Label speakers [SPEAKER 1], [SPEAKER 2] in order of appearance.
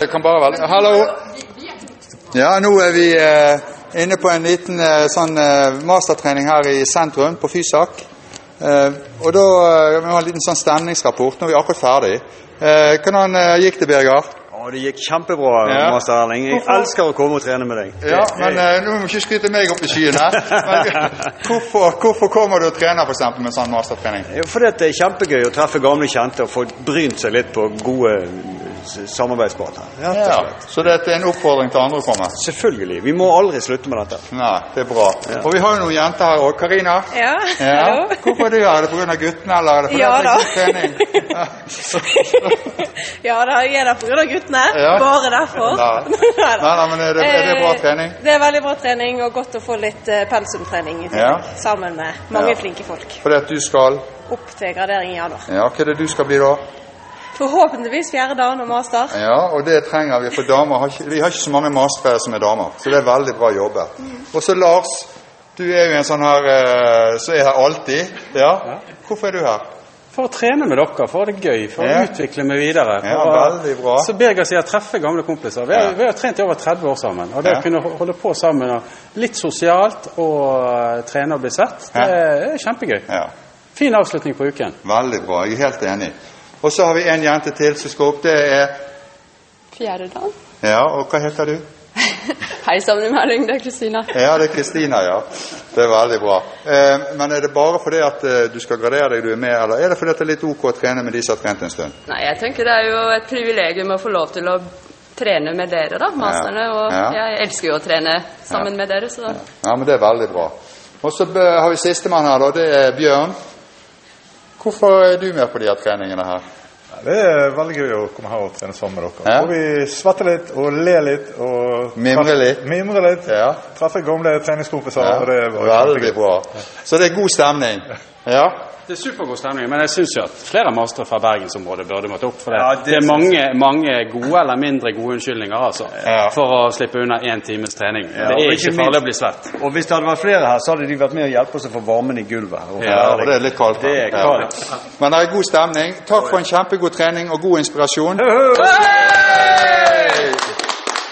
[SPEAKER 1] Det kan bare være Hallo! Ja, nå er vi eh, inne på en liten eh, sånn eh, mastertrening her i sentrum, på Fysak. Eh, og da eh, vi har en liten sånn stemningsrapport. Nå er vi akkurat ferdig. Eh, hvordan eh, gikk det, Birger?
[SPEAKER 2] Å, det gikk kjempebra,
[SPEAKER 1] Ja.
[SPEAKER 2] Master Erling. Jeg elsker å komme og trene med deg.
[SPEAKER 1] Ja, men eh, Nå må du ikke skryte meg opp i skyene. Men, eh, hvorfor, hvorfor kommer du og trener for eksempel, med sånn mastertrening?
[SPEAKER 2] Eh, Jo, Fordi at det er kjempegøy å treffe gamle kjente og få brynt seg litt på gode eh, s- samarbeidspartnere. Rett og
[SPEAKER 1] Ja,
[SPEAKER 2] slett.
[SPEAKER 1] så dette er en oppfordring til andre å komme?
[SPEAKER 2] Selvfølgelig. Vi må aldri slutte med dette.
[SPEAKER 1] Nei, det er bra. Og vi har jo noen jenter her òg. Karina?
[SPEAKER 3] Ja.
[SPEAKER 1] Ja. Hvorfor er du her? Er det pga. guttene, eller er det fordi
[SPEAKER 3] Ja,
[SPEAKER 1] det er
[SPEAKER 3] da.
[SPEAKER 1] god trening?
[SPEAKER 3] ja da, jeg er der pga. guttene.
[SPEAKER 1] Ja.
[SPEAKER 3] Bare derfor.
[SPEAKER 1] Nei.
[SPEAKER 3] Neida.
[SPEAKER 1] Nei, nei, men er det, er det bra
[SPEAKER 3] Eh,
[SPEAKER 1] trening?
[SPEAKER 3] Det er veldig bra trening, og godt å få litt eh, pensumtrening i
[SPEAKER 1] Ja.
[SPEAKER 3] tillegg. Sammen med mange
[SPEAKER 1] Ja.
[SPEAKER 3] flinke folk.
[SPEAKER 1] Fordi at du skal
[SPEAKER 3] Opp til gradering i januar.
[SPEAKER 1] Ja, hva er det du skal bli da?
[SPEAKER 3] Forhåpentligvis fjerde dagen og master.
[SPEAKER 1] Ja, og det trenger vi, for damer har ikke, vi har ikke så mange mastere som er damer. Så det er veldig bra jobbet.
[SPEAKER 3] Mm.
[SPEAKER 1] Og så Lars, du er jo en sånn her eh, som er her alltid. Ja. Hvorfor er du her?
[SPEAKER 4] For å trene med dere, for å ha det gøy, for
[SPEAKER 1] Ja.
[SPEAKER 4] å utvikle meg videre.
[SPEAKER 1] Ja,
[SPEAKER 4] For å-
[SPEAKER 1] veldig bra.
[SPEAKER 4] Så Birger sier treffe gamle kompiser. Vi,
[SPEAKER 1] Ja.
[SPEAKER 4] har- vi har trent i over 30 år sammen. Og det
[SPEAKER 1] Ja.
[SPEAKER 4] å kunne ho- holde på sammen og litt sosialt og eh, trene og bli sett, det
[SPEAKER 1] Ja.
[SPEAKER 4] er kjempegøy.
[SPEAKER 1] Ja,
[SPEAKER 4] Fin avslutning på uken.
[SPEAKER 1] Veldig bra. Jeg er helt enig. Og så har vi en jente til som skal opp. Det er
[SPEAKER 5] Fjerde dagen.
[SPEAKER 1] Ja, og hva heter du?
[SPEAKER 5] Hei sammen, Erling. Det er Kristina.
[SPEAKER 1] Ja, det er Kristina, ja. Det er veldig bra. Eh, men er det bare fordi at eh, du skal gradere deg du er med, eller er det fordi at det er litt ok å trene med de som har trent en stund?
[SPEAKER 5] Nei, jeg tenker det er jo et privilegium å få lov til å trene med dere, da, masterne. Og
[SPEAKER 1] Ja.
[SPEAKER 5] jeg elsker jo å trene sammen
[SPEAKER 1] Ja.
[SPEAKER 5] med dere, så
[SPEAKER 1] Ja, men det er veldig bra. Og så bø- har vi sistemann her, da. Det er Bjørn. Hvorfor er du med på de her treningene her?
[SPEAKER 6] Det er veldig gøy å komme her og trene sammen med dere.
[SPEAKER 1] Ja.
[SPEAKER 6] Hvor vi svetter litt og ler litt. og
[SPEAKER 1] Mimrer
[SPEAKER 6] treffer-
[SPEAKER 1] litt.
[SPEAKER 6] Mimrer litt.
[SPEAKER 1] Ja.
[SPEAKER 6] Treffer gamle treningskompiser.
[SPEAKER 1] Ja,
[SPEAKER 6] og det er
[SPEAKER 1] veldig bra. Så det er god stemning. Ja.
[SPEAKER 4] Det er supergod stemning, men jeg syns jo at flere mastere fra bergensområdet burde måtte opp. For det,
[SPEAKER 2] Ja, det
[SPEAKER 4] det, er mange, mange gode eller mindre gode unnskyldninger altså,
[SPEAKER 1] Ja.
[SPEAKER 4] for å slippe unna én times trening.
[SPEAKER 2] Ja,
[SPEAKER 4] det
[SPEAKER 2] og
[SPEAKER 4] er
[SPEAKER 2] ikke
[SPEAKER 4] ikke farlig
[SPEAKER 2] minst-
[SPEAKER 4] å bli svett.
[SPEAKER 2] Og hvis det hadde vært flere her, så hadde de vært med å hjelpe oss å få varmen i gulvet. Og
[SPEAKER 1] Ja, og det er litt kaldt. her.
[SPEAKER 2] Det er kaldt.
[SPEAKER 1] Ja. Men det er god stemning. Takk for en kjempegod trening og god inspirasjon.
[SPEAKER 2] Hø, hø, hø.